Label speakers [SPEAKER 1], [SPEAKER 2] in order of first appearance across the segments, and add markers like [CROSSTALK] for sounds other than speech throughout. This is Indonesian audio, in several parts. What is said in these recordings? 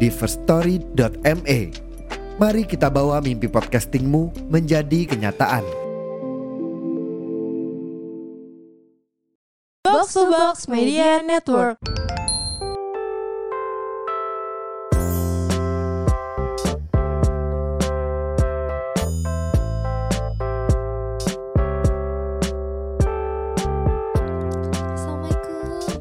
[SPEAKER 1] di firststory.me. Mari kita bawa mimpi podcastingmu menjadi kenyataan.
[SPEAKER 2] Box to Box Media Network.
[SPEAKER 3] Assalamualaikum.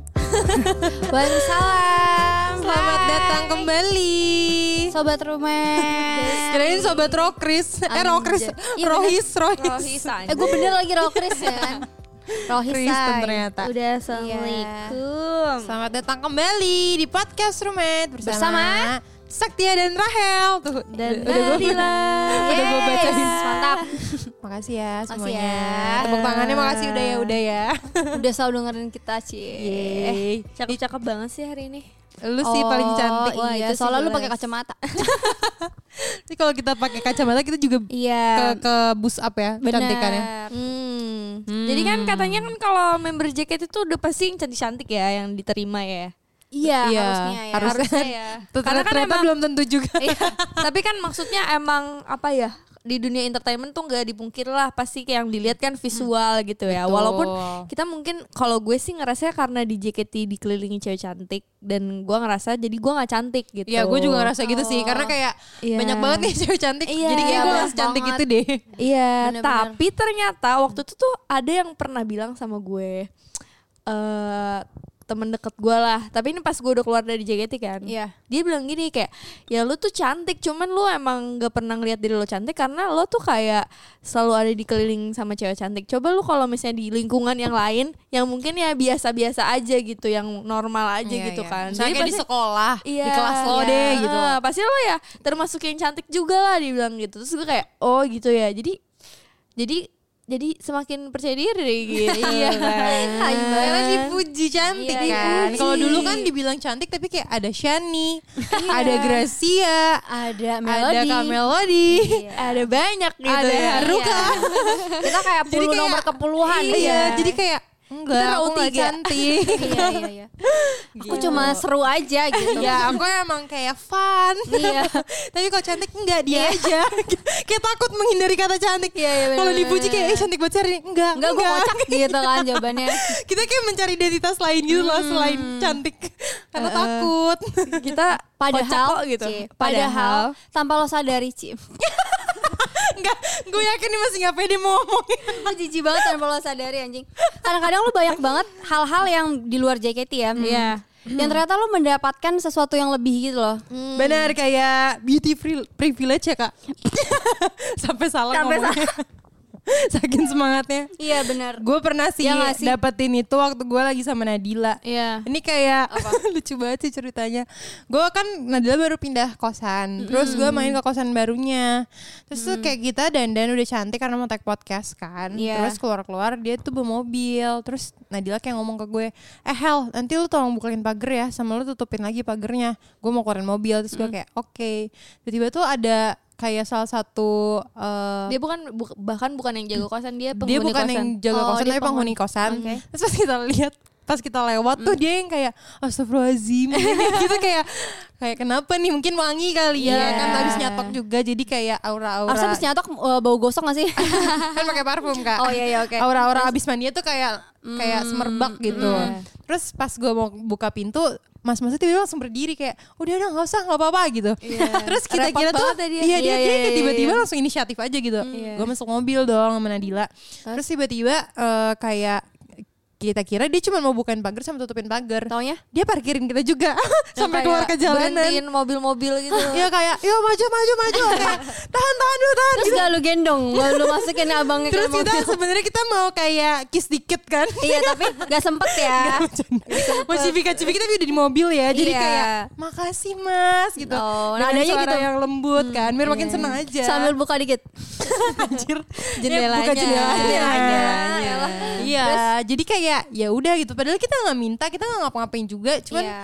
[SPEAKER 2] Waalaikumsalam. Selamat
[SPEAKER 3] Hai.
[SPEAKER 2] datang kembali.
[SPEAKER 3] Sobat Rumes.
[SPEAKER 2] Kirain sobat Rokris. Eh
[SPEAKER 3] Anjay.
[SPEAKER 2] Rokris.
[SPEAKER 3] Iya,
[SPEAKER 2] Rohis, Rohis.
[SPEAKER 3] Eh gue bener lagi Rohkris ya kan? Rohis
[SPEAKER 2] Kristen ternyata.
[SPEAKER 3] Udah Assalamualaikum.
[SPEAKER 2] Selamat datang kembali di podcast Rumet bersama,
[SPEAKER 3] Bersama
[SPEAKER 2] Saktia dan Rahel. Tuh.
[SPEAKER 3] Dan
[SPEAKER 2] udah gua-
[SPEAKER 3] Nadila.
[SPEAKER 2] udah gua bacain.
[SPEAKER 3] Mantap.
[SPEAKER 2] Makasih ya
[SPEAKER 3] Makasih
[SPEAKER 2] semuanya.
[SPEAKER 3] ya.
[SPEAKER 2] Tepuk tangannya makasih udah ya udah ya.
[SPEAKER 3] Udah selalu dengerin kita, Cie.
[SPEAKER 2] Yeay.
[SPEAKER 3] Cakep-cakep banget sih hari ini.
[SPEAKER 2] Lu sih paling cantik.
[SPEAKER 3] Wah,
[SPEAKER 2] Iya,
[SPEAKER 3] itu
[SPEAKER 2] sih
[SPEAKER 3] Oh, soalnya lu
[SPEAKER 2] jelas.
[SPEAKER 3] pakai kacamata.
[SPEAKER 2] Tapi kalau kita pakai kacamata kita juga ke
[SPEAKER 3] Iya.
[SPEAKER 2] ke boost up ya cantikannya.
[SPEAKER 3] Nah. Hmm.
[SPEAKER 4] Jadi kan katanya kan kalau member JKT itu udah pasti yang cantik-cantik ya yang diterima ya.
[SPEAKER 3] Iya,
[SPEAKER 2] Iya,
[SPEAKER 3] harusnya ya.
[SPEAKER 2] harusnya.
[SPEAKER 4] ya.
[SPEAKER 2] Tuh, ternyata,
[SPEAKER 4] Karena kan
[SPEAKER 2] ternyata
[SPEAKER 4] emang,
[SPEAKER 2] belum tentu juga.
[SPEAKER 4] Iya. tapi kan maksudnya emang apa ya di dunia entertainment tuh nggak dipungkir lah pasti kayak yang dilihat kan visual gitu
[SPEAKER 2] Hmm.
[SPEAKER 4] ya.
[SPEAKER 2] Betul.
[SPEAKER 4] Walaupun kita mungkin kalau gue sih ngerasa karena di JKT dikelilingi cewek cantik dan gue ngerasa jadi gue nggak cantik gitu.
[SPEAKER 2] Iya, gue juga ngerasa gitu sih karena kayak
[SPEAKER 4] Iya.
[SPEAKER 2] banyak banget nih cewek cantik.
[SPEAKER 4] Iya,
[SPEAKER 2] jadi kayak gue
[SPEAKER 3] banyak
[SPEAKER 2] harus cantik
[SPEAKER 3] banget.
[SPEAKER 2] itu deh.
[SPEAKER 4] Iya,
[SPEAKER 3] Bener-bener.
[SPEAKER 4] tapi ternyata waktu itu tuh ada yang pernah bilang sama gue eh temen deket gue lah. Tapi ini pas gue udah keluar dari JKT kan.
[SPEAKER 3] Iya.
[SPEAKER 4] Dia bilang gini kayak, ya lu tuh cantik, cuman lu emang gak pernah ngeliat diri lu cantik karena lu tuh kayak selalu ada dikeliling sama cewek cantik. Coba lu kalau misalnya di lingkungan yang lain, yang mungkin ya biasa-biasa aja gitu, yang normal aja gitu
[SPEAKER 2] Iya,
[SPEAKER 4] kan.
[SPEAKER 2] Misalnya kayak di
[SPEAKER 4] pasti-
[SPEAKER 2] sekolah, di
[SPEAKER 4] Iya,
[SPEAKER 2] kelas lo
[SPEAKER 4] iya.
[SPEAKER 2] deh gitu.
[SPEAKER 4] Ah, pasti lo ya termasuk yang cantik juga lah dibilang gitu. Terus gue kayak oh gitu ya. Jadi jadi jadi semakin percaya
[SPEAKER 2] [LAUGHS]
[SPEAKER 4] diri gitu. iya. Ayo
[SPEAKER 2] Karena
[SPEAKER 4] banget
[SPEAKER 2] dipuji cantik
[SPEAKER 4] Iya,
[SPEAKER 2] kan.
[SPEAKER 4] dipuji.
[SPEAKER 2] Kalau dulu kan dibilang cantik tapi kayak ada Shani,
[SPEAKER 4] Iya.
[SPEAKER 2] ada Gracia,
[SPEAKER 3] Ada
[SPEAKER 2] ada
[SPEAKER 3] melodi. Iya.
[SPEAKER 2] Kak Melody,
[SPEAKER 4] Ada banyak gitu
[SPEAKER 2] ada
[SPEAKER 4] ya.
[SPEAKER 2] Haruka.
[SPEAKER 3] Kita kayak
[SPEAKER 2] Jadi
[SPEAKER 3] puluh
[SPEAKER 2] kayak-
[SPEAKER 3] nomor kepuluhan.
[SPEAKER 2] Iya, jadi kayak enggak,
[SPEAKER 4] ya. Kita
[SPEAKER 2] aku
[SPEAKER 4] row
[SPEAKER 2] gak
[SPEAKER 4] tiga.
[SPEAKER 2] cantik.
[SPEAKER 3] iya iya iya. Aku cuma seru aja gitu.
[SPEAKER 2] Ya, aku emang kayak fun.
[SPEAKER 3] Iya.
[SPEAKER 2] Tapi kalau cantik enggak dia aja. [LAUGHS] kayak takut menghindari kata cantik.
[SPEAKER 3] Iya, iya,
[SPEAKER 2] kalau
[SPEAKER 3] bener,
[SPEAKER 2] dipuji kayak eh cantik banget sih hari ini. Enggak,
[SPEAKER 3] Enggak gue kocak gitu kan jawabannya.
[SPEAKER 2] [LAUGHS] Kita kayak mencari identitas lain gitu loh selain cantik. Karena takut. [LAUGHS]
[SPEAKER 4] Kita
[SPEAKER 3] Padahal
[SPEAKER 4] kocak kok gitu.
[SPEAKER 3] Ci, padahal tanpa lo sadari, Ci.
[SPEAKER 2] Enggak, gue yakin dia masih nggak pede mau ngomongnya.
[SPEAKER 3] Gue jijik banget tanpa lo sadari anjing. Kadang-kadang lo banyak banget hal-hal yang di luar JKT ya.
[SPEAKER 2] Iya.
[SPEAKER 3] Yang ternyata lo mendapatkan sesuatu yang lebih gitu loh.
[SPEAKER 2] Benar kayak beauty pri- privilege ya, Kak. [LAUGHS] Sampai salah
[SPEAKER 3] Sampai
[SPEAKER 2] ngomongnya. [LAUGHS] Saking semangatnya.
[SPEAKER 3] Iya benar.
[SPEAKER 2] Gue pernah Ya sih,
[SPEAKER 3] Iya nggak sih?
[SPEAKER 2] dapetin itu waktu gue lagi sama Nadila.
[SPEAKER 4] Iya.
[SPEAKER 2] Ini kayak [LAUGHS] lucu banget sih ceritanya. Gue kan Nadila baru pindah kosan, terus gue main ke kosan barunya. Terus tuh kayak kita dandan udah cantik karena mau tag podcast kan.
[SPEAKER 3] Iya.
[SPEAKER 2] Terus keluar-keluar dia tuh bawa mobil. Terus Nadila kayak ngomong ke gue, eh Hel, nanti lu tolong bukain pagar ya, sama lu tutupin lagi pagernya. Gue mau keluarin mobil. Terus gue kayak oke. Tiba-tiba tuh ada kayak salah satu eh,
[SPEAKER 4] Dia bukan bu- bahkan bukan yang jago kosan, dia penghuni
[SPEAKER 2] dia bukan
[SPEAKER 4] kosan.
[SPEAKER 2] yang jaga
[SPEAKER 3] Oh,
[SPEAKER 2] kosan
[SPEAKER 3] dia
[SPEAKER 2] tapi penghuni kosan
[SPEAKER 3] Oke. Mm.
[SPEAKER 2] terus pas kita lihat pas kita lewat tuh dia yang kayak astagfirullahaladzim [LAUGHS] gitu kayak kayak kenapa nih mungkin wangi kali ya
[SPEAKER 3] Iya.
[SPEAKER 2] kan habis nyatok juga jadi kayak aura-aura
[SPEAKER 3] Harusnya abis nyatok eh, bau gosok gak sih?
[SPEAKER 2] [LAUGHS] kan pakai parfum kak
[SPEAKER 3] Oh, iya, iya, oke.
[SPEAKER 2] aura-aura abis mandi tuh kayak kayak
[SPEAKER 4] Hmm,
[SPEAKER 2] semerbak gitu
[SPEAKER 4] iya.
[SPEAKER 2] terus pas gue mau buka pintu mas mas tiba-tiba langsung berdiri kayak udah udah nggak usah nggak apa-apa gitu terus kita
[SPEAKER 4] Iya. Repot
[SPEAKER 2] kira tuh
[SPEAKER 4] banget ya dia.
[SPEAKER 2] iya dia,
[SPEAKER 4] Iya,
[SPEAKER 2] dia
[SPEAKER 4] iya,
[SPEAKER 2] kayak
[SPEAKER 4] iya,
[SPEAKER 2] tiba-tiba
[SPEAKER 4] iya.
[SPEAKER 2] langsung inisiatif aja gitu
[SPEAKER 4] Iya.
[SPEAKER 2] gue masuk mobil dong sama Nadila terus tiba-tiba eh, kayak kita kira dia cuma mau bukain pagar sama tutupin pagar
[SPEAKER 4] Taunya
[SPEAKER 2] dia parkirin kita juga [LAUGHS] sampai
[SPEAKER 4] Yang
[SPEAKER 2] keluar
[SPEAKER 4] kayak
[SPEAKER 2] ke jalanan
[SPEAKER 4] berhentiin mobil-mobil gitu.
[SPEAKER 2] ya kayak yo maju maju maju Kayak, tahan tahan dulu tahan
[SPEAKER 3] Terus gak lu gendong, gak lu
[SPEAKER 2] [LAUGHS]
[SPEAKER 3] masukin abangnya ke
[SPEAKER 2] terus
[SPEAKER 3] mobil.
[SPEAKER 2] kita sebenarnya kita mau kayak kiss dikit kan
[SPEAKER 3] [LAUGHS] Iya tapi gak sempet
[SPEAKER 2] [LAUGHS]
[SPEAKER 3] ya.
[SPEAKER 2] mau cipika-cipiki tapi udah di mobil ya jadi
[SPEAKER 3] Iya.
[SPEAKER 2] kayak makasih mas gitu
[SPEAKER 3] Oh,
[SPEAKER 2] Dengan
[SPEAKER 3] nah adanya
[SPEAKER 2] suara
[SPEAKER 3] gitu.
[SPEAKER 2] yang lembut kan biar makin senang aja
[SPEAKER 3] Hmm. [LAUGHS] Sambil buka dikit.
[SPEAKER 2] Anjir.
[SPEAKER 3] Jendelanya.
[SPEAKER 2] Ya, buka jendelanya.
[SPEAKER 3] Jendelanya.
[SPEAKER 2] Iya, jadi kayak ya udah gitu. Padahal kita nggak minta, kita nggak ngapa-ngapain juga. Cuman
[SPEAKER 3] Iya.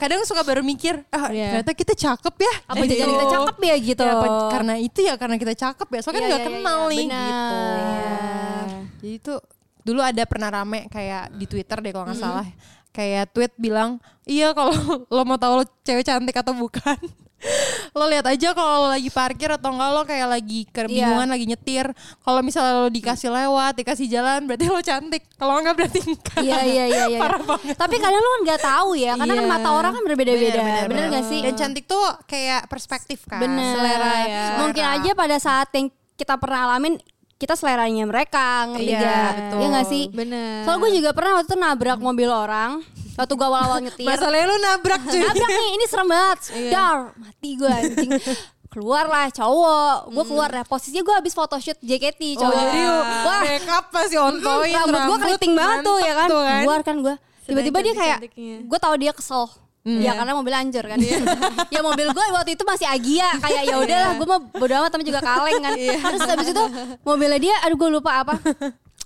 [SPEAKER 2] kadang suka baru mikir, ah
[SPEAKER 4] Iya.
[SPEAKER 2] ternyata kita cakep ya.
[SPEAKER 3] Apa
[SPEAKER 2] Gitu.
[SPEAKER 3] jajan kita cakep ya gitu.
[SPEAKER 2] Ya, apa- karena itu ya karena kita cakep ya. Soalnya kan
[SPEAKER 3] Iya,
[SPEAKER 2] nggak
[SPEAKER 3] iya, iya,
[SPEAKER 2] kenal nih
[SPEAKER 3] benar.
[SPEAKER 2] gitu.
[SPEAKER 3] Iya.
[SPEAKER 2] Jadi itu dulu ada pernah rame kayak di Twitter deh kalau nggak salah. Kayak tweet bilang, "Iya kalau [LAUGHS] lo mau tahu lo cewek cantik atau bukan." [LAUGHS] lo lihat aja kalau lo lagi parkir atau enggak lo kayak lagi
[SPEAKER 3] Iya.
[SPEAKER 2] kebingungan lagi nyetir kalau misalnya lo dikasih lewat dikasih jalan berarti lo cantik kalau enggak berarti enggak
[SPEAKER 3] Iya iya
[SPEAKER 2] [LAUGHS]
[SPEAKER 3] iya iya.
[SPEAKER 2] Parah banget.
[SPEAKER 3] Tapi kadang lu kan nggak tahu ya, karena kan
[SPEAKER 2] Iya.
[SPEAKER 3] mata orang kan berbeda-beda.
[SPEAKER 2] Bener, bener,
[SPEAKER 3] Bener
[SPEAKER 2] bener.
[SPEAKER 3] nggak sih?
[SPEAKER 2] dan cantik tuh kayak perspektif kan
[SPEAKER 3] Bener.
[SPEAKER 2] selera ya
[SPEAKER 3] Mungkin aja pada saat yang kita pernah alamin kita seleranya mereka ngerti
[SPEAKER 2] Iya,
[SPEAKER 3] nggak?
[SPEAKER 2] betul.
[SPEAKER 3] Iya nggak sih?
[SPEAKER 4] Bener.
[SPEAKER 3] Soalnya gue juga pernah waktu itu nabrak mobil orang Waktu gue
[SPEAKER 2] [LAUGHS]
[SPEAKER 3] awal-awal nyetir
[SPEAKER 2] masalahnya lo nabrak cuy
[SPEAKER 3] Nabrak nih, ini serem banget
[SPEAKER 2] Iya.
[SPEAKER 3] Dar, mati gue anjing Keluar lah cowok Gue keluar dah, posisinya gue habis photoshoot JKT cowok
[SPEAKER 2] jadi
[SPEAKER 3] Wah,
[SPEAKER 2] make up pasti on point
[SPEAKER 3] rambut, gue keriting banget tuh ya kan,
[SPEAKER 2] mantep tuh kan.
[SPEAKER 3] Keluar kan gue Tiba-tiba dia kayak,
[SPEAKER 4] cantik-cantiknya.
[SPEAKER 3] gue tau dia kesel
[SPEAKER 2] Hmm.
[SPEAKER 3] Ya
[SPEAKER 2] Iya.
[SPEAKER 3] karena mobil hancur kan. [LAUGHS] ya mobil gue waktu itu masih Agia kayak
[SPEAKER 2] Iya.
[SPEAKER 3] ya udahlah gue mau bodo amat tapi juga kaleng kan. Terus habis itu mobilnya dia aduh gue lupa
[SPEAKER 2] [LAUGHS]
[SPEAKER 3] apa.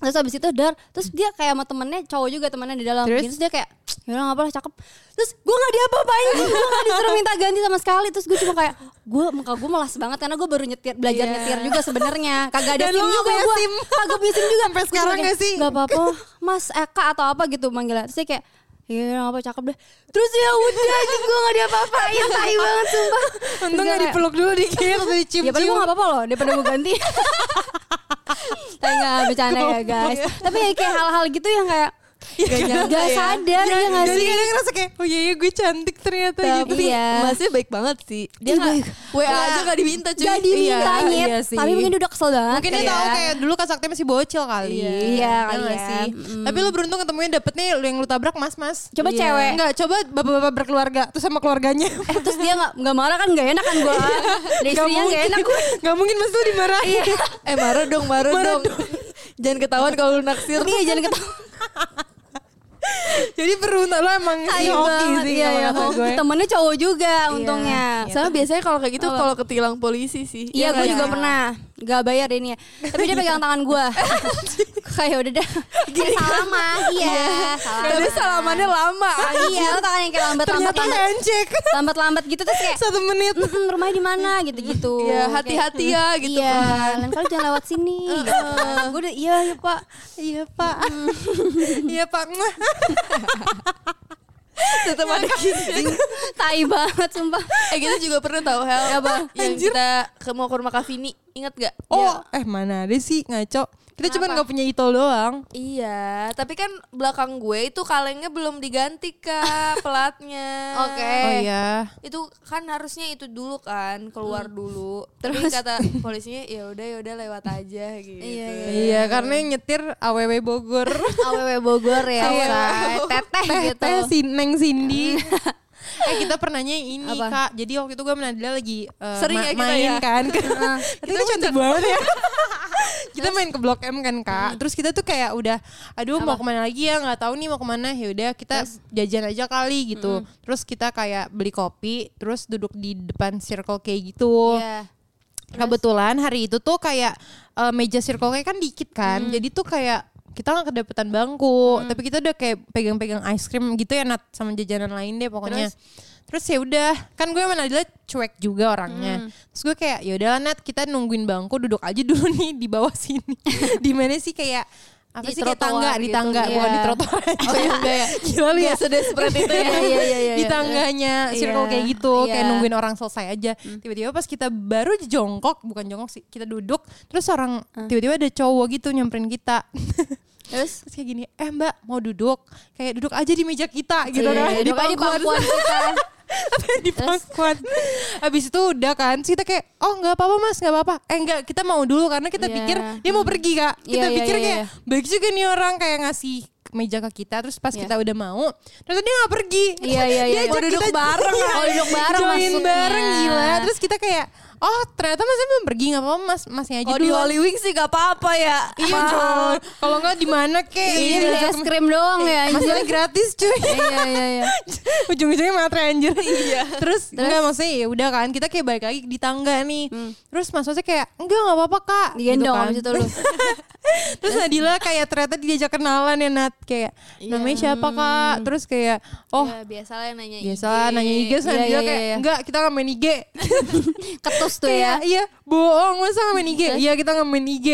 [SPEAKER 3] Terus habis itu dar, terus dia kayak sama temennya cowok juga temennya di dalam.
[SPEAKER 2] Terus?
[SPEAKER 3] Terus, dia kayak ya udah apa lah cakep. Terus gue nggak diapa-apain, gue
[SPEAKER 2] [LAUGHS]
[SPEAKER 3] nggak disuruh minta ganti sama sekali. Terus gue cuma kayak gue muka gue melas banget karena gue baru nyetir belajar nyetir juga sebenarnya. Kagak ada
[SPEAKER 2] Iya. Dan
[SPEAKER 3] SIM
[SPEAKER 2] lu nggak
[SPEAKER 3] juga
[SPEAKER 2] punya
[SPEAKER 3] gue.
[SPEAKER 2] SIM.
[SPEAKER 3] [LAUGHS] Kagak punya SIM juga.
[SPEAKER 2] Sampai
[SPEAKER 3] Terus
[SPEAKER 2] sekarang
[SPEAKER 3] dia kayak,
[SPEAKER 2] nggak sih?
[SPEAKER 3] "Nggak apa-apa mas Eka atau apa gitu manggilnya terus dia kayak Iya apa cakep deh Terus ya udah anjing gue gak
[SPEAKER 2] [LAUGHS]
[SPEAKER 3] diapa-apain Tai banget sumpah
[SPEAKER 2] untung gak dipeluk dulu
[SPEAKER 3] [LAUGHS]
[SPEAKER 2] dikit terus
[SPEAKER 3] Ya padahal gue
[SPEAKER 2] dicium-cium
[SPEAKER 3] gak apa-apa loh Daripada gue
[SPEAKER 2] [LAUGHS]
[SPEAKER 3] ganti Tapi gak bercanda ya guys Tapi ya kayak hal-hal gitu yang kayak Gak,
[SPEAKER 4] nyangka ya.
[SPEAKER 3] sadar ya, gak
[SPEAKER 2] Iya, jadi
[SPEAKER 3] sih
[SPEAKER 2] kadang ngerasa kayak oh iya iya gue cantik ternyata gitu
[SPEAKER 4] Tapi
[SPEAKER 3] Iya.
[SPEAKER 4] masih baik banget sih. Dia
[SPEAKER 3] Ih,
[SPEAKER 4] nggak
[SPEAKER 3] baik.
[SPEAKER 4] WA Iya. aja gak diminta cuy.
[SPEAKER 3] Gak Iya. diminta
[SPEAKER 2] Iya,
[SPEAKER 3] nyet
[SPEAKER 2] iya sih.
[SPEAKER 3] Tapi mungkin dia udah kesel banget
[SPEAKER 2] mungkin dia
[SPEAKER 3] kali
[SPEAKER 2] tahu
[SPEAKER 3] ya.
[SPEAKER 2] kayak dulu kasaknya masih bocil kali
[SPEAKER 3] Iya, kali
[SPEAKER 2] nggak
[SPEAKER 3] ya.
[SPEAKER 2] sih tapi lu beruntung ketemunya dapet nih lu yang lu tabrak mas-mas
[SPEAKER 3] Coba
[SPEAKER 2] Iya.
[SPEAKER 3] cewek.
[SPEAKER 2] enggak coba bapak-bapak berkeluarga terus sama keluarganya [LAUGHS]
[SPEAKER 3] Eh terus dia gak, nggak marah kan gak enak kan
[SPEAKER 4] [LAUGHS]
[SPEAKER 3] gue
[SPEAKER 4] Iya.
[SPEAKER 3] Dari istrinya gak enak
[SPEAKER 2] [LAUGHS]
[SPEAKER 3] gue
[SPEAKER 2] Gak mungkin mas lu dimarahin
[SPEAKER 4] Eh marah dong, marah,
[SPEAKER 2] Marah
[SPEAKER 4] dong. [LAUGHS] Jangan ketahuan kalau lu naksir.
[SPEAKER 3] Iya jangan
[SPEAKER 4] [LAUGHS]
[SPEAKER 3] ketawa
[SPEAKER 2] Jadi beruntung lo emang
[SPEAKER 3] Tai
[SPEAKER 2] si hoki
[SPEAKER 3] banget
[SPEAKER 2] sih
[SPEAKER 3] iya,
[SPEAKER 2] kalau
[SPEAKER 3] iya.
[SPEAKER 2] kata
[SPEAKER 3] Oh,
[SPEAKER 2] gue.
[SPEAKER 3] Temennya cowok juga
[SPEAKER 4] Iya.
[SPEAKER 3] untungnya
[SPEAKER 4] Sama biasanya kalau kayak gitu kalau ketilang polisi sih.
[SPEAKER 3] Iya, gue
[SPEAKER 4] nggak
[SPEAKER 3] juga
[SPEAKER 4] sih?
[SPEAKER 3] pernah. Gak bayar deh ini ya. Tapi dia pegang tangan
[SPEAKER 4] [LAUGHS]
[SPEAKER 3] gue. Kayak udah dah. Gini salaman, iya. Salaman.
[SPEAKER 4] Tapi salamannya
[SPEAKER 2] [LAUGHS]
[SPEAKER 4] lama.
[SPEAKER 3] iya, lo tangan yang kayak lambat-lambat.
[SPEAKER 2] Ternyata ngecek
[SPEAKER 3] Lambat-lambat gitu terus kayak
[SPEAKER 2] satu [LAUGHS] menit.
[SPEAKER 3] "Mm, rumahnya di mana gitu-gitu.
[SPEAKER 4] Iya,
[SPEAKER 3] Kayak,
[SPEAKER 4] hati-hati ya, gitu
[SPEAKER 3] Iya, lain kali jangan lewat sini. gue udah iya ya Pak.
[SPEAKER 2] Iya pak,
[SPEAKER 3] [LAUGHS]
[SPEAKER 2] [LAUGHS] iya pak. Mwah.
[SPEAKER 4] Tetap ada kissing.
[SPEAKER 3] Tai banget sumpah.
[SPEAKER 4] Eh kita juga pernah tahu Hel. Yang kita ke mau ke rumah Kak Vini, ingat Iya. gak?
[SPEAKER 2] Oh, eh mana ada sih ngaco. Kita cuma nggak punya itu doang.
[SPEAKER 4] Iya, tapi kan belakang gue itu kalengnya belum diganti
[SPEAKER 3] [LAUGHS]
[SPEAKER 4] kak pelatnya.
[SPEAKER 3] Oke.
[SPEAKER 2] Oh
[SPEAKER 3] Eh.
[SPEAKER 2] iya.
[SPEAKER 4] Itu kan harusnya itu dulu kan keluar
[SPEAKER 3] Hmm.
[SPEAKER 4] dulu. Terus kata polisinya ya udah ya udah lewat aja gitu.
[SPEAKER 3] Iya,
[SPEAKER 2] Iya, karena yang nyetir AWW Bogor. [LAUGHS]
[SPEAKER 3] Awewe Bogor ya,
[SPEAKER 2] Iya.
[SPEAKER 3] say. teteh
[SPEAKER 2] Teh,
[SPEAKER 3] gitu.
[SPEAKER 2] teh, [LAUGHS] si Neng Cindy. eh kita pernanya ini
[SPEAKER 3] Apa?
[SPEAKER 2] kak. Jadi waktu itu gue sama Nadila lagi eh,
[SPEAKER 4] Sering ya kita
[SPEAKER 2] main
[SPEAKER 4] ya?
[SPEAKER 2] [LAUGHS] kan. Tapi lu cantik banget [LAUGHS] ya. kita main ke Blok M kan kak. Terus kita tuh kayak udah, aduh mau kemana lagi ya nggak tahu nih mau kemana. Ya udah kita jajan aja kali gitu. Terus kita kayak beli kopi. Terus duduk di depan Circle K gitu.
[SPEAKER 3] Iya.
[SPEAKER 2] Kebetulan hari itu tuh kayak eh, meja circle K kan dikit kan. Jadi tuh kayak kita nggak kedapetan bangku, tapi kita udah kayak pegang-pegang ice cream gitu ya Nat sama jajanan lain deh pokoknya. Terus, ya udah, kan gue sama Nadila cuek juga orangnya. Terus gue kayak ya udahlah Nat, kita nungguin bangku duduk aja dulu [LAUGHS] nih di bawah sini. di mana sih kayak apa
[SPEAKER 3] Di
[SPEAKER 2] sih kayak
[SPEAKER 3] trotoar
[SPEAKER 2] tangga, di
[SPEAKER 3] gitu,
[SPEAKER 2] tangga,
[SPEAKER 3] iya.
[SPEAKER 2] bukan di trotoar.
[SPEAKER 4] Oh iya, enggak ya.
[SPEAKER 2] Gila lu ya.
[SPEAKER 4] Gak sedesperate itu ya.
[SPEAKER 3] Iya, iya, iya,
[SPEAKER 2] di
[SPEAKER 3] iya.
[SPEAKER 2] tangganya circle kayak gitu
[SPEAKER 3] Iya. Hmm.
[SPEAKER 2] kayak nungguin orang selesai aja tiba-tiba pas kita baru jongkok bukan jongkok sih kita duduk terus orang tiba-tiba ada cowok gitu nyamperin kita
[SPEAKER 3] Ah. Terus
[SPEAKER 2] terus kayak gini eh mbak mau duduk kayak duduk aja di meja kita gitu
[SPEAKER 3] Iya,
[SPEAKER 2] kan
[SPEAKER 3] duduk aja di pangkuan kita. [LAUGHS]
[SPEAKER 2] di pangkuan habis itu udah kan terus kita kayak oh nggak apa-apa mas nggak apa-apa eh nggak kita mau dulu karena kita
[SPEAKER 3] Iya.
[SPEAKER 2] pikir dia mau pergi kak kita
[SPEAKER 3] Iya, iya,
[SPEAKER 2] pikir
[SPEAKER 3] iya,
[SPEAKER 2] kayak
[SPEAKER 3] iya.
[SPEAKER 2] baik juga nih orang kayak ngasih meja ke kita terus pas
[SPEAKER 3] Iya.
[SPEAKER 2] kita udah mau terus dia nggak pergi
[SPEAKER 3] Iya, iya, iya.
[SPEAKER 2] Dia ajak
[SPEAKER 3] Mau duduk
[SPEAKER 2] kita-
[SPEAKER 3] bareng,
[SPEAKER 2] [LAUGHS] Iya,
[SPEAKER 3] mau duduk bareng
[SPEAKER 2] join
[SPEAKER 3] maksudnya.
[SPEAKER 2] bareng gila terus kita kayak oh ternyata masnya belum pergi nggak apa-apa mas masnya aja
[SPEAKER 4] Kalau di
[SPEAKER 2] dulu
[SPEAKER 4] Holy Wings sih gak apa-apa ya.
[SPEAKER 2] iya coy kalau nggak di mana kek
[SPEAKER 3] Iya, beli es krim doang ya. anjir.
[SPEAKER 2] Masalahnya gratis cuy
[SPEAKER 3] Iya, iya, iya.
[SPEAKER 2] [LAUGHS] Ujung-ujungnya matre anjir Iya Terus, enggak maksudnya ya udah kan Kita kayak balik lagi di tangga nih Terus Mas Oce kayak Enggak gak apa-apa kak Gitu
[SPEAKER 3] Digendong
[SPEAKER 2] kan.
[SPEAKER 3] Hmm. Iya abis itu lu.
[SPEAKER 2] Terus Nadila kayak ternyata diajak kenalan ya Nat Kayak
[SPEAKER 3] Iya.
[SPEAKER 2] namanya siapa kak
[SPEAKER 3] Hmm.
[SPEAKER 2] Terus kayak Oh
[SPEAKER 4] Ya, biasalah yang nanya
[SPEAKER 2] biasa lah
[SPEAKER 4] IG.
[SPEAKER 2] nanya IG Terus
[SPEAKER 3] Iya,
[SPEAKER 2] Nadila
[SPEAKER 3] iya,
[SPEAKER 2] kayak
[SPEAKER 3] iya.
[SPEAKER 2] Enggak kita gak main IG
[SPEAKER 3] Ketus tuh
[SPEAKER 2] Kayak
[SPEAKER 3] ya.
[SPEAKER 2] iya bohong Masa gak main IG Iya kita gak main IG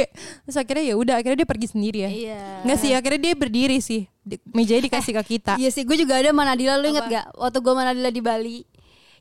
[SPEAKER 2] Terus akhirnya ya udah Akhirnya dia pergi sendiri ya
[SPEAKER 4] Iya.
[SPEAKER 2] Enggak sih akhirnya dia berdiri sih Di- Mejanya dikasih ke kita
[SPEAKER 3] Iya sih, gue juga ada sama Nadila, lu inget gak? Waktu gue sama Nadila di Bali.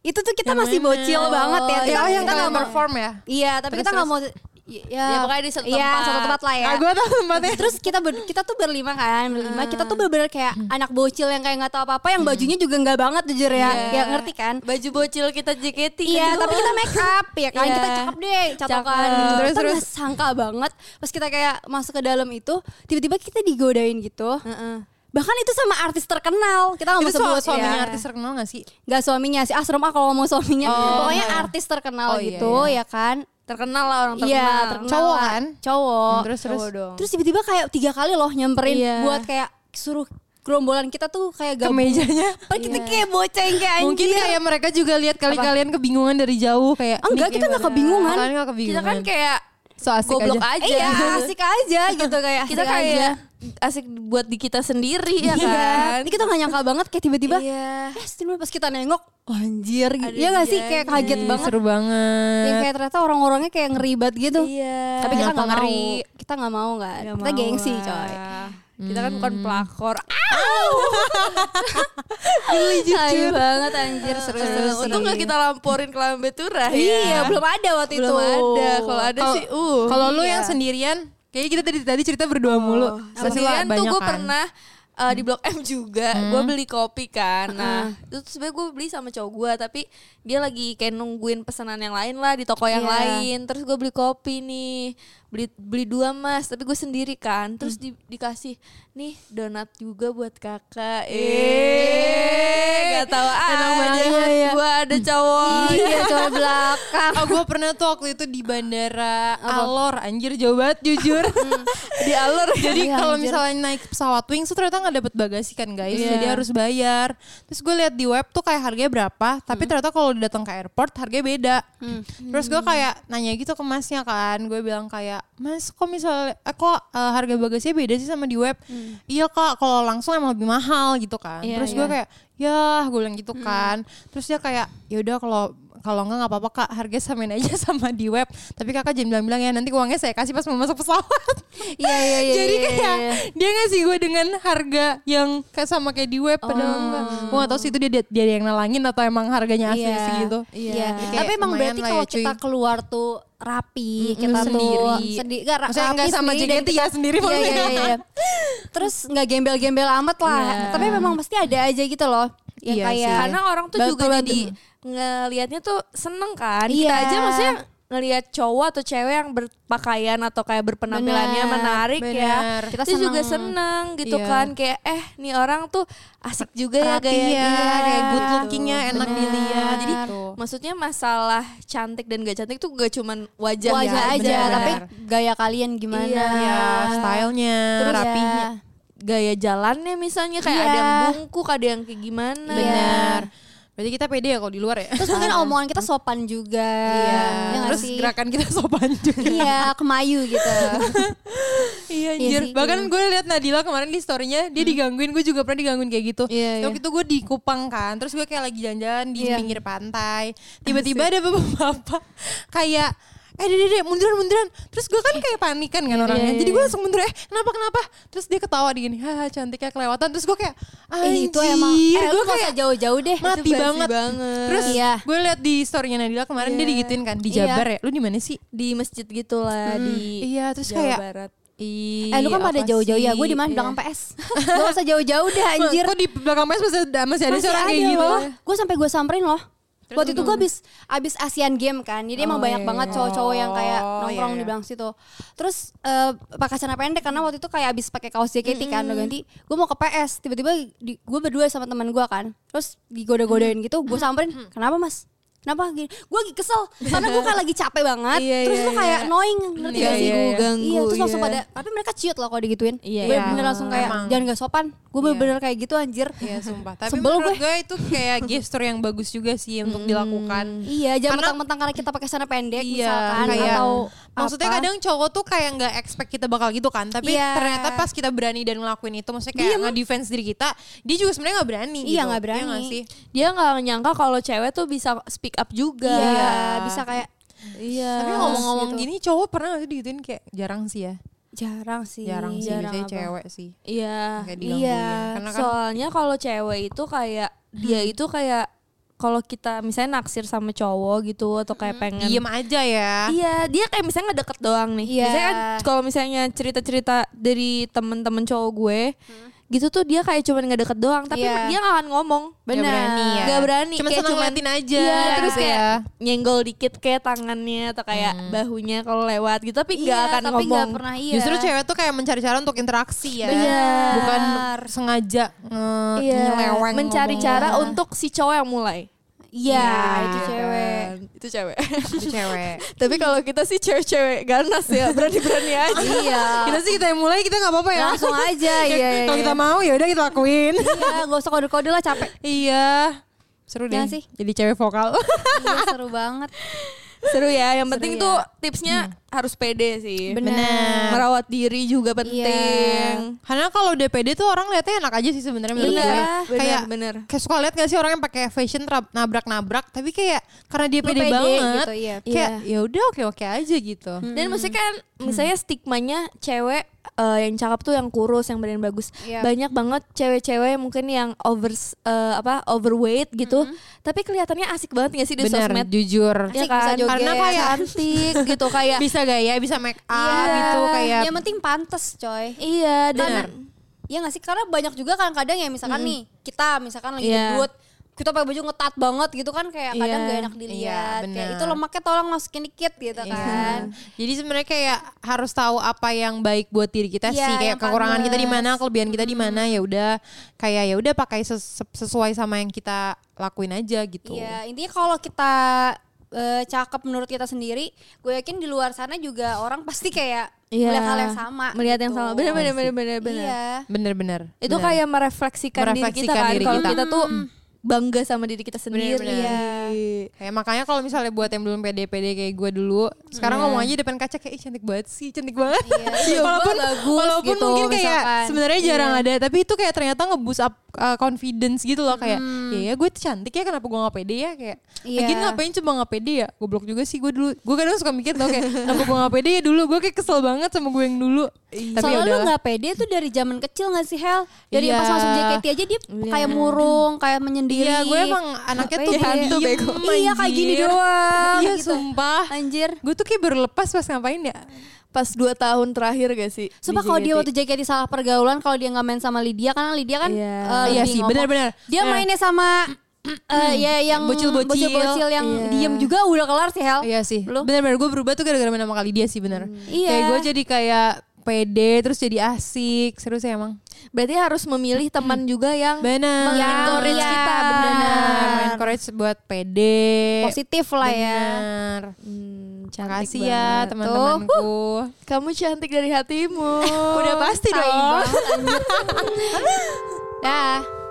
[SPEAKER 3] Itu tuh kita masih bocil banget
[SPEAKER 4] iya,
[SPEAKER 3] ya.
[SPEAKER 2] Oh,
[SPEAKER 3] Kita,
[SPEAKER 2] yang
[SPEAKER 3] kita
[SPEAKER 2] kalau
[SPEAKER 3] nggak mau-
[SPEAKER 2] perform ya
[SPEAKER 3] Iya, tapi
[SPEAKER 2] Terus,
[SPEAKER 3] kita nggak
[SPEAKER 2] terus.
[SPEAKER 3] mau Ya,
[SPEAKER 4] Ya, pokoknya di satu
[SPEAKER 3] Iya,
[SPEAKER 4] tempat.
[SPEAKER 3] satu tempat lah ya.
[SPEAKER 2] Ah, gue tau tempatnya.
[SPEAKER 3] Terus kita ber- kita tuh berlima kan, berlima. Kita tuh bener-bener kayak
[SPEAKER 4] Hmm.
[SPEAKER 3] anak bocil yang kayak nggak tahu apa-apa, yang bajunya juga nggak banget jujur ya. Ya ngerti kan?
[SPEAKER 4] Iya. Baju bocil kita JKT.
[SPEAKER 3] Iya,
[SPEAKER 4] Aduh.
[SPEAKER 3] tapi kita make up ya kan.
[SPEAKER 4] Iya.
[SPEAKER 3] Kita cakep deh, catokan.
[SPEAKER 4] Cakep.
[SPEAKER 3] Terus
[SPEAKER 2] Terus,
[SPEAKER 3] kita
[SPEAKER 2] terus.
[SPEAKER 3] nggak sangka banget pas kita kayak masuk ke dalam itu, tiba-tiba kita digodain gitu.
[SPEAKER 4] Heeh.
[SPEAKER 3] Bahkan itu sama artis terkenal. Kita nggak mau
[SPEAKER 2] Itu
[SPEAKER 3] sebut
[SPEAKER 2] soal
[SPEAKER 3] ya.
[SPEAKER 2] suaminya artis terkenal gak sih?
[SPEAKER 3] Gak suaminya sih, ah serem ah kalau ngomong suaminya. Pokoknya artis terkenal
[SPEAKER 2] Oh, iya,
[SPEAKER 3] gitu ya kan.
[SPEAKER 4] Terkenal lah orang terkenal.
[SPEAKER 3] Iya, terkenal
[SPEAKER 2] Cowok
[SPEAKER 3] lah.
[SPEAKER 2] kan?
[SPEAKER 3] Cowok.
[SPEAKER 2] Hmm, terus, terus.
[SPEAKER 3] Cowok dong. Terus tiba-tiba kayak tiga kali loh nyamperin
[SPEAKER 4] Iya.
[SPEAKER 3] buat kayak suruh gerombolan kita tuh kayak
[SPEAKER 2] Ke
[SPEAKER 3] gabung.
[SPEAKER 2] mejanya. Iya.
[SPEAKER 3] Padahal kita kayak boceng kayak anjir.
[SPEAKER 2] Mungkin kayak mereka juga lihat kali kalian kebingungan dari jauh kayak
[SPEAKER 3] Enggak,
[SPEAKER 2] "Nih,
[SPEAKER 3] kita nggak
[SPEAKER 2] gimana?"
[SPEAKER 3] kebingungan.
[SPEAKER 2] Kalian gak
[SPEAKER 4] Kita
[SPEAKER 2] kebingungan
[SPEAKER 4] kan kayak
[SPEAKER 2] So asik
[SPEAKER 4] goblok
[SPEAKER 2] aja,
[SPEAKER 4] aja.
[SPEAKER 3] Eh, Iya,
[SPEAKER 4] [LAUGHS]
[SPEAKER 3] asik aja gitu kayak
[SPEAKER 4] kita
[SPEAKER 3] asik
[SPEAKER 4] kayak
[SPEAKER 3] aja.
[SPEAKER 4] asik buat di kita sendiri
[SPEAKER 3] Iya.
[SPEAKER 4] ya kan.
[SPEAKER 3] Jadi kita gak nyangka banget kayak tiba-tiba
[SPEAKER 4] Iya.
[SPEAKER 3] eh setiap pas kita nengok wah anjir gitu. Iya gak sih kayak kaget
[SPEAKER 2] Ih,
[SPEAKER 3] banget.
[SPEAKER 2] Seru banget
[SPEAKER 3] Ya, kayak ternyata orang-orangnya kayak ngeribat gitu.
[SPEAKER 4] Iya.
[SPEAKER 3] Tapi kita
[SPEAKER 2] Nyangka
[SPEAKER 3] nggak mau.
[SPEAKER 2] ngeri.
[SPEAKER 3] Kita nggak mau kan.
[SPEAKER 4] Nggak
[SPEAKER 3] Kita
[SPEAKER 4] mau
[SPEAKER 3] gengsi
[SPEAKER 4] lah. [LAUGHS]
[SPEAKER 3] coy.
[SPEAKER 4] Kita kan bukan pelakor. Ah,
[SPEAKER 3] Hai banget anjir seru-seru.
[SPEAKER 4] untung gak kita lamporin ke Lambe Turah ya.
[SPEAKER 3] Iya, belum ada waktu itu.
[SPEAKER 4] Belum ada. Kalau ada
[SPEAKER 2] Kalau-
[SPEAKER 4] sih uh.
[SPEAKER 2] Kalau lu
[SPEAKER 4] iya.
[SPEAKER 2] yang sendirian Kayaknya kita tadi, tadi cerita berdua mulu Sendirian
[SPEAKER 4] Sendirian tuh gue
[SPEAKER 3] kan.
[SPEAKER 4] pernah uh,
[SPEAKER 3] Hmm.
[SPEAKER 4] di Blok M juga, gue beli kopi kan. Nah, itu tuh sebenarnya gue beli sama cowok gue, tapi dia lagi kayak nungguin pesanan yang lain lah di toko yang
[SPEAKER 3] Iya.
[SPEAKER 4] lain. Terus gue beli kopi nih, beli beli dua mas, tapi gue sendiri kan.
[SPEAKER 3] Hmm.
[SPEAKER 4] Terus di- dikasih nih donat juga buat kakak. Eh, gak tahu aja. Gue ada cowok.
[SPEAKER 3] ya? Iya,
[SPEAKER 4] [LAUGHS]
[SPEAKER 3] coba belakang.
[SPEAKER 2] Oh gue pernah tuh waktu itu di bandara Alor Anjir jauh banget jujur Di Alor [LAUGHS] Jadi
[SPEAKER 3] [LAUGHS] Iya,
[SPEAKER 2] kalau
[SPEAKER 3] anjir. Iya.
[SPEAKER 2] misalnya naik pesawat wings tuh ternyata gak dapet bagasi kan guys Jadi harus bayar Terus gue lihat di web tuh kayak harganya berapa Tapi
[SPEAKER 3] Hmm.
[SPEAKER 2] ternyata kalau datang ke airport harganya beda Terus gue kayak nanya gitu ke masnya kan Gue bilang kayak Mas kok misalnya eh, Kok eh, harga bagasinya beda sih sama di web Iya kak kalau langsung emang lebih mahal gitu kan
[SPEAKER 3] Hmm. Iya, Hmm.
[SPEAKER 2] Terus gue
[SPEAKER 3] iya.
[SPEAKER 2] kayak ya gue bilang gitu kan terus dia kayak ya udah kalau kalau enggak nggak apa-apa kak harganya samain aja [LAUGHS] sama di web tapi kakak jangan bilang-bilang ya nanti uangnya saya kasih pas mau masuk pesawat [LAUGHS]
[SPEAKER 3] Iya, iya, iya.
[SPEAKER 2] jadi
[SPEAKER 3] iya,
[SPEAKER 2] kayak
[SPEAKER 3] iya.
[SPEAKER 2] dia ngasih gue dengan harga yang kayak sama kayak di web padahal
[SPEAKER 3] Oh.
[SPEAKER 2] enggak gue gak tahu sih itu dia dia yang nalangin atau emang harganya asli gitu.
[SPEAKER 3] Iya,
[SPEAKER 2] segitu
[SPEAKER 3] Iya.
[SPEAKER 2] Jadi kayak
[SPEAKER 3] Tapi emang
[SPEAKER 2] lumayan
[SPEAKER 3] berarti
[SPEAKER 2] lah
[SPEAKER 3] kalau
[SPEAKER 2] ya, cuy.
[SPEAKER 3] kita keluar tuh rapi, kita tuh
[SPEAKER 2] sendiri.
[SPEAKER 3] sendiri enggak
[SPEAKER 2] Maksudnya nggak sama JKT ya, sendiri
[SPEAKER 3] Iya,
[SPEAKER 2] maksudnya.
[SPEAKER 3] iya, iya, iya. Terus nggak gembel-gembel amat lah. Tapi memang pasti ada aja gitu loh. Yang
[SPEAKER 2] Iya
[SPEAKER 3] kayak
[SPEAKER 2] sih.
[SPEAKER 4] karena orang tuh
[SPEAKER 3] Betul,
[SPEAKER 4] juga
[SPEAKER 3] betul.
[SPEAKER 4] jadi ngelihatnya tuh seneng kan kita
[SPEAKER 3] Iya.
[SPEAKER 4] aja maksudnya ngelihat cowok atau cewek yang berpakaian atau kayak berpenampilannya
[SPEAKER 3] Bener,
[SPEAKER 4] menarik ya
[SPEAKER 2] bener.
[SPEAKER 4] kita
[SPEAKER 3] Kita
[SPEAKER 4] juga
[SPEAKER 3] seneng.
[SPEAKER 4] seneng gitu
[SPEAKER 2] Iya.
[SPEAKER 4] kan kayak eh nih orang tuh asik
[SPEAKER 3] Iya,
[SPEAKER 4] juga ya
[SPEAKER 2] Rapi
[SPEAKER 4] gaya
[SPEAKER 2] ya,
[SPEAKER 4] dia
[SPEAKER 2] kayak good
[SPEAKER 4] gitu.
[SPEAKER 2] lookingnya enak
[SPEAKER 3] Benar.
[SPEAKER 2] dilihat jadi
[SPEAKER 3] Tuh.
[SPEAKER 4] maksudnya masalah cantik dan gak cantik tuh gak cuman wajah,
[SPEAKER 3] wajah
[SPEAKER 4] ya,
[SPEAKER 3] aja,
[SPEAKER 4] bener.
[SPEAKER 3] tapi gaya kalian gimana?
[SPEAKER 4] Iya.
[SPEAKER 2] ya stylenya
[SPEAKER 3] Terus ya.
[SPEAKER 2] rapinya
[SPEAKER 4] gaya jalannya misalnya kayak
[SPEAKER 3] Iya.
[SPEAKER 4] ada yang bungkuk ada yang kayak gimana
[SPEAKER 2] benar berarti kita pede ya kalau di luar ya Iya.
[SPEAKER 3] Terus mungkin omongan kita sopan juga. Ya nggak
[SPEAKER 2] terus
[SPEAKER 3] sih?
[SPEAKER 2] gerakan kita [LAUGHS] sopan juga
[SPEAKER 3] Iya, kemayu gitu.
[SPEAKER 2] [LAUGHS] Iya
[SPEAKER 3] Iya
[SPEAKER 2] anjir.
[SPEAKER 3] sih,
[SPEAKER 2] Bahkan gue lihat Nadila kemarin di storynya dia digangguin, gue juga pernah digangguin kayak gitu.
[SPEAKER 3] Iya,
[SPEAKER 2] Waktu itu gue di Kupang kan, terus gue kayak lagi jalan-jalan di
[SPEAKER 3] Iya.
[SPEAKER 2] pinggir pantai. Tiba-tiba ada bapak-bapak kayak eh dede dede munduran munduran terus gue kan kayak panikan kan
[SPEAKER 3] Iya,
[SPEAKER 2] orangnya jadi gue langsung mundur eh kenapa kenapa terus dia ketawa di gini haha cantiknya kelewatan terus gue kayak
[SPEAKER 3] Eh,
[SPEAKER 2] anjir
[SPEAKER 3] itu emang eh,
[SPEAKER 2] gue
[SPEAKER 3] lu nggak usah
[SPEAKER 2] kayak
[SPEAKER 3] jauh-jauh deh.
[SPEAKER 2] mati
[SPEAKER 4] basi
[SPEAKER 2] banget.
[SPEAKER 4] banget.
[SPEAKER 2] terus
[SPEAKER 3] Iya.
[SPEAKER 2] gue lihat di storynya Nadila kemarin dia digituin kan di
[SPEAKER 3] Iya.
[SPEAKER 2] Jabar ya lu di mana sih
[SPEAKER 4] di masjid gitulah di
[SPEAKER 2] iya, terus
[SPEAKER 4] Jawa
[SPEAKER 2] kayak-
[SPEAKER 4] Barat
[SPEAKER 3] Eh lu kan pada jauh-jauh ya, gue di mana
[SPEAKER 4] Iya.
[SPEAKER 3] belakang PS. Gak [LAUGHS] usah jauh-jauh deh anjir.
[SPEAKER 2] kok di belakang mas masih ada, masih ada
[SPEAKER 3] Masih
[SPEAKER 2] seorang
[SPEAKER 3] ada
[SPEAKER 2] kayak gitu
[SPEAKER 3] loh. Gue sampai gue samperin loh.
[SPEAKER 2] Terus
[SPEAKER 3] Waktu itu
[SPEAKER 2] untuk-
[SPEAKER 3] gue abis, abis Asian Game kan, jadi emang
[SPEAKER 2] Oh,
[SPEAKER 3] banyak
[SPEAKER 2] iya,
[SPEAKER 3] banget
[SPEAKER 2] iya.
[SPEAKER 3] cowok-cowok yang kayak
[SPEAKER 2] Oh,
[SPEAKER 3] nongkrong
[SPEAKER 2] iya,
[SPEAKER 3] di
[SPEAKER 2] iya.
[SPEAKER 3] belakang situ. Terus eh, pakai celana pendek karena waktu itu kayak abis pakai kaos JKT kan, udah ganti. Gue mau ke PS, tiba-tiba gue berdua sama teman gue kan, terus digoda-godain gitu, gue samperin, kenapa mas? Kenapa gini? Gue lagi kesel, karena gue kan lagi capek banget,
[SPEAKER 4] Iya,
[SPEAKER 3] terus
[SPEAKER 4] iya,
[SPEAKER 3] itu kayak
[SPEAKER 4] iya.
[SPEAKER 3] annoying, ngerti
[SPEAKER 4] Iya,
[SPEAKER 3] gak sih?
[SPEAKER 4] iya, iya.
[SPEAKER 3] Iya, terus langsung
[SPEAKER 4] Iya.
[SPEAKER 3] pada, tapi mereka ciut loh kalau digituin.
[SPEAKER 4] Iya,
[SPEAKER 3] Gue
[SPEAKER 4] iya.
[SPEAKER 3] bener langsung kayak,
[SPEAKER 2] Emang.
[SPEAKER 3] jangan gak sopan, gue
[SPEAKER 2] Iya.
[SPEAKER 3] bener-bener kayak gitu anjir.
[SPEAKER 2] Iya sumpah. Tapi
[SPEAKER 3] Sebel gue.
[SPEAKER 2] menurut gue. itu kayak gestur yang bagus juga sih untuk dilakukan.
[SPEAKER 3] Iya, jangan
[SPEAKER 2] Karena-
[SPEAKER 3] mentang-mentang karena kita pakai celana pendek
[SPEAKER 2] Iya,
[SPEAKER 3] misalkan
[SPEAKER 2] kayak-
[SPEAKER 3] atau
[SPEAKER 2] Maksudnya
[SPEAKER 3] apa.
[SPEAKER 2] kadang cowok tuh kayak nggak expect kita bakal gitu kan, tapi
[SPEAKER 3] Iya.
[SPEAKER 2] ternyata pas kita berani dan ngelakuin itu, maksudnya kayak nge-defense diri kita, dia juga sebenarnya nggak berani.
[SPEAKER 3] Iya,
[SPEAKER 2] gitu.
[SPEAKER 3] nggak berani.
[SPEAKER 2] nggak sih?
[SPEAKER 4] Dia nggak nyangka kalau cewek tuh bisa speak up juga.
[SPEAKER 3] Iya,
[SPEAKER 2] Iya.
[SPEAKER 3] bisa kayak
[SPEAKER 4] Iya.
[SPEAKER 2] Tapi
[SPEAKER 3] Terus
[SPEAKER 2] ngomong-ngomong
[SPEAKER 3] gitu.
[SPEAKER 2] gini, cowok pernah nggak sih digituin kayak jarang sih ya,
[SPEAKER 3] Iya, jarang sih.
[SPEAKER 2] jarang sih
[SPEAKER 4] jarang
[SPEAKER 2] biasanya
[SPEAKER 4] apa.
[SPEAKER 2] cewek sih.
[SPEAKER 4] Iya.
[SPEAKER 2] Kayak digangguin.
[SPEAKER 3] Iya,
[SPEAKER 2] Karena kan Hmm.
[SPEAKER 4] Soalnya kalau cewek itu kayak dia itu kayak kalau kita misalnya naksir sama cowok gitu atau kayak pengen
[SPEAKER 2] Hmm. diem aja ya.
[SPEAKER 4] Iya, dia kayak misalnya ngedeket doang nih.
[SPEAKER 3] Iya.
[SPEAKER 4] Biasanya kan kalau misalnya cerita-cerita dari temen-temen cowok gue,
[SPEAKER 2] Hmm.
[SPEAKER 4] gitu tuh dia kayak cuman ngedeket doang, tapi
[SPEAKER 3] Iya.
[SPEAKER 4] dia gak akan ngomong.
[SPEAKER 2] Benar. Gak berani ya.
[SPEAKER 4] Gak berani,
[SPEAKER 2] Cuman
[SPEAKER 4] kayak
[SPEAKER 2] seneng
[SPEAKER 4] cuman-
[SPEAKER 2] ngeliatin aja.
[SPEAKER 4] Iya, terus
[SPEAKER 2] gitu
[SPEAKER 4] kayak
[SPEAKER 2] ya.
[SPEAKER 4] nyenggol dikit kayak tangannya atau kayak bahunya kalau lewat gitu, tapi
[SPEAKER 3] Hmm. Iya,
[SPEAKER 4] gak akan
[SPEAKER 3] tapi
[SPEAKER 4] ngomong.
[SPEAKER 3] nggak pernah iya.
[SPEAKER 2] Justru cewek tuh kayak mencari cara untuk interaksi ya.
[SPEAKER 4] Benar.
[SPEAKER 2] Bukan sengaja nge-
[SPEAKER 4] Iya,
[SPEAKER 2] nyeleweng
[SPEAKER 4] mencari
[SPEAKER 2] ngomongnya.
[SPEAKER 4] cara untuk si cowok yang mulai.
[SPEAKER 3] Iya,
[SPEAKER 2] Iya,
[SPEAKER 3] itu cewek.
[SPEAKER 4] Dan Itu cewek. [LAUGHS]
[SPEAKER 2] Itu cewek.
[SPEAKER 4] tapi kalau kita sih cewek-cewek ganas ya,
[SPEAKER 3] [LAUGHS]
[SPEAKER 4] berani-berani aja.
[SPEAKER 3] Iya.
[SPEAKER 2] kita sih kita yang mulai kita nggak apa-apa ya.
[SPEAKER 3] Langsung aja iya. iya,
[SPEAKER 2] Kalau
[SPEAKER 3] iya.
[SPEAKER 2] kita mau ya udah kita lakuin.
[SPEAKER 3] [LAUGHS] Iya, gak usah kode-kode lah capek.
[SPEAKER 2] iya. Seru deh.
[SPEAKER 3] Jangan sih.
[SPEAKER 2] Jadi cewek vokal.
[SPEAKER 3] Iya, seru banget.
[SPEAKER 4] Seru ya, yang
[SPEAKER 3] Seru
[SPEAKER 4] penting
[SPEAKER 3] ya.
[SPEAKER 4] tuh tipsnya harus pede sih.
[SPEAKER 3] Benar. Benar. Iya.
[SPEAKER 4] Merawat diri juga penting.
[SPEAKER 2] Karena kalau DPD tuh orang lihatnya enak aja sih sebenarnya menurut gue.
[SPEAKER 4] Iya, benar,
[SPEAKER 2] Kayak
[SPEAKER 4] benar.
[SPEAKER 2] Kayak suka lihat gak sih orang yang pakai fashion terap- nabrak-nabrak tapi kayak karena dia
[SPEAKER 3] Lu
[SPEAKER 2] pede
[SPEAKER 3] pede
[SPEAKER 2] banget.
[SPEAKER 3] gitu, iya.
[SPEAKER 2] Kayak
[SPEAKER 4] Iya.
[SPEAKER 2] ya udah oke-oke aja gitu.
[SPEAKER 3] Hmm.
[SPEAKER 4] Dan maksudnya kan misalnya stigmanya cewek eh, yang cakep tuh yang kurus, yang badan bagus.
[SPEAKER 3] Iya.
[SPEAKER 4] Banyak banget cewek-cewek mungkin yang over eh, apa overweight gitu,
[SPEAKER 3] Hmm.
[SPEAKER 4] tapi kelihatannya asik banget gak sih di
[SPEAKER 2] Bener,
[SPEAKER 4] sosmed?
[SPEAKER 2] jujur.
[SPEAKER 4] Ya
[SPEAKER 3] Asik, bisa joget.
[SPEAKER 2] Karena kayak
[SPEAKER 4] cantik gitu kayak
[SPEAKER 2] bisa gaya, bisa make up
[SPEAKER 3] Iya.
[SPEAKER 2] gitu kayak
[SPEAKER 3] Yang penting pantas, coy.
[SPEAKER 4] iya
[SPEAKER 2] Benar.
[SPEAKER 4] dan
[SPEAKER 3] Iya gak sih? Karena banyak juga kadang-kadang ya misalkan nih kita misalkan lagi
[SPEAKER 4] Iya.
[SPEAKER 3] debut kita pakai baju ngetat banget gitu kan kayak kadang
[SPEAKER 4] Iya.
[SPEAKER 3] gak enak dilihat
[SPEAKER 2] Iya,
[SPEAKER 3] kayak
[SPEAKER 2] benar.
[SPEAKER 3] itu lemaknya tolong masukin dikit gitu
[SPEAKER 2] Iya.
[SPEAKER 3] kan
[SPEAKER 2] Jadi sebenarnya kayak harus tahu apa yang baik buat diri kita
[SPEAKER 3] Iya,
[SPEAKER 2] sih, kayak
[SPEAKER 3] yang
[SPEAKER 2] kekurangan kita di
[SPEAKER 3] pantas.
[SPEAKER 2] mana, kelebihan kita di mana ya udah kayak ya udah pakai ses- sesuai sama yang kita lakuin aja gitu.
[SPEAKER 3] Iya, intinya kalau kita eh, cakep menurut kita sendiri, gue yakin di luar sana juga orang pasti kayak
[SPEAKER 4] Iya.
[SPEAKER 3] melihat hal yang sama.
[SPEAKER 4] Melihat yang
[SPEAKER 3] gitu.
[SPEAKER 4] sama. Benar benar benar benar benar.
[SPEAKER 3] Iya.
[SPEAKER 2] Bener-bener.
[SPEAKER 4] Itu
[SPEAKER 2] bener.
[SPEAKER 4] kayak merefleksikan, diri kita
[SPEAKER 2] Merefleksikan
[SPEAKER 4] kan
[SPEAKER 2] diri
[SPEAKER 4] kalau
[SPEAKER 2] kita.
[SPEAKER 4] kita tuh
[SPEAKER 3] Hmm.
[SPEAKER 4] bangga sama diri kita sendiri. Iya.
[SPEAKER 2] Benar-benar. Kayak makanya kalau misalnya buat yang belum pede-pede kayak gue dulu, sekarang ngomong aja depan kaca kayak "Ih, cantik banget sih, cantik banget. [LAUGHS]
[SPEAKER 3] Iya,
[SPEAKER 2] walaupun
[SPEAKER 3] gua bagus
[SPEAKER 2] walaupun
[SPEAKER 3] gitu,
[SPEAKER 2] mungkin kayak
[SPEAKER 3] misalkan. Iya.
[SPEAKER 2] sebenarnya jarang ada, tapi itu kayak ternyata ngebus up uh, confidence gitu loh kayak, ya ya gue tuh cantik ya kenapa gue gak pede ya kayak.
[SPEAKER 3] Hmm. Iya.
[SPEAKER 2] Lagian ngapain coba gak pede ya? Goblok juga sih gue dulu. Gue kadang suka mikir tau kayak kenapa gue gak pede ya dulu, gue kayak kesel banget sama gue yang dulu. Tapi ya
[SPEAKER 3] Soalnya lu
[SPEAKER 2] udahlah.
[SPEAKER 3] gak pede tuh dari zaman kecil gak sih Hel? Dari
[SPEAKER 2] Iya.
[SPEAKER 3] pas masuk JKT aja dia kayak murung, kayak menyendiri.
[SPEAKER 2] Iya, gue emang anaknya tuh
[SPEAKER 3] Iya.
[SPEAKER 2] hantu
[SPEAKER 3] Iya,
[SPEAKER 2] bego.
[SPEAKER 3] Iya kayak gini
[SPEAKER 2] Anjir.
[SPEAKER 3] doang.
[SPEAKER 2] Iya
[SPEAKER 3] gitu.
[SPEAKER 2] sumpah.
[SPEAKER 3] Anjir.
[SPEAKER 2] Gue tuh kayak baru lepas pas ngapain ya?
[SPEAKER 4] Pas 2 tahun terakhir gak sih?
[SPEAKER 3] Sumpah
[SPEAKER 4] di
[SPEAKER 3] kalau dia
[SPEAKER 4] JKT?
[SPEAKER 3] waktu JKT salah pergaulan, kalau dia nggak main sama Lydia karena Lydia kan eh,
[SPEAKER 4] Iya.
[SPEAKER 2] Iya
[SPEAKER 3] lebih
[SPEAKER 2] sih,
[SPEAKER 3] ngomong.
[SPEAKER 2] benar-benar.
[SPEAKER 3] Dia
[SPEAKER 2] Benar.
[SPEAKER 3] mainnya
[SPEAKER 2] [CLEARS THROAT]
[SPEAKER 3] sama eh, ya yang
[SPEAKER 2] Bocil-bocil.
[SPEAKER 3] bocil-bocil yang
[SPEAKER 4] Iya.
[SPEAKER 3] diem juga udah kelar sih Hel.
[SPEAKER 2] Iya sih.
[SPEAKER 3] Lu?
[SPEAKER 2] Benar-benar gue berubah tuh gara-gara main sama kali dia sih benar.
[SPEAKER 3] Iya.
[SPEAKER 2] Kayak gue jadi kayak pede terus jadi asik seru sih emang
[SPEAKER 4] Berarti harus memilih teman
[SPEAKER 3] Hmm.
[SPEAKER 4] juga yang
[SPEAKER 2] benar
[SPEAKER 4] Mengencourage
[SPEAKER 3] Iya,
[SPEAKER 4] kita,
[SPEAKER 3] benar.
[SPEAKER 2] encourage buat pede
[SPEAKER 3] Positif lah ya.
[SPEAKER 2] benar
[SPEAKER 4] Hmm, cantik
[SPEAKER 2] makasih ya
[SPEAKER 4] banget.
[SPEAKER 2] teman-temanku
[SPEAKER 4] Tuh, Kamu cantik dari hatimu.
[SPEAKER 2] udah pasti
[SPEAKER 3] Tai
[SPEAKER 2] dong
[SPEAKER 3] banget, anjir. Dah.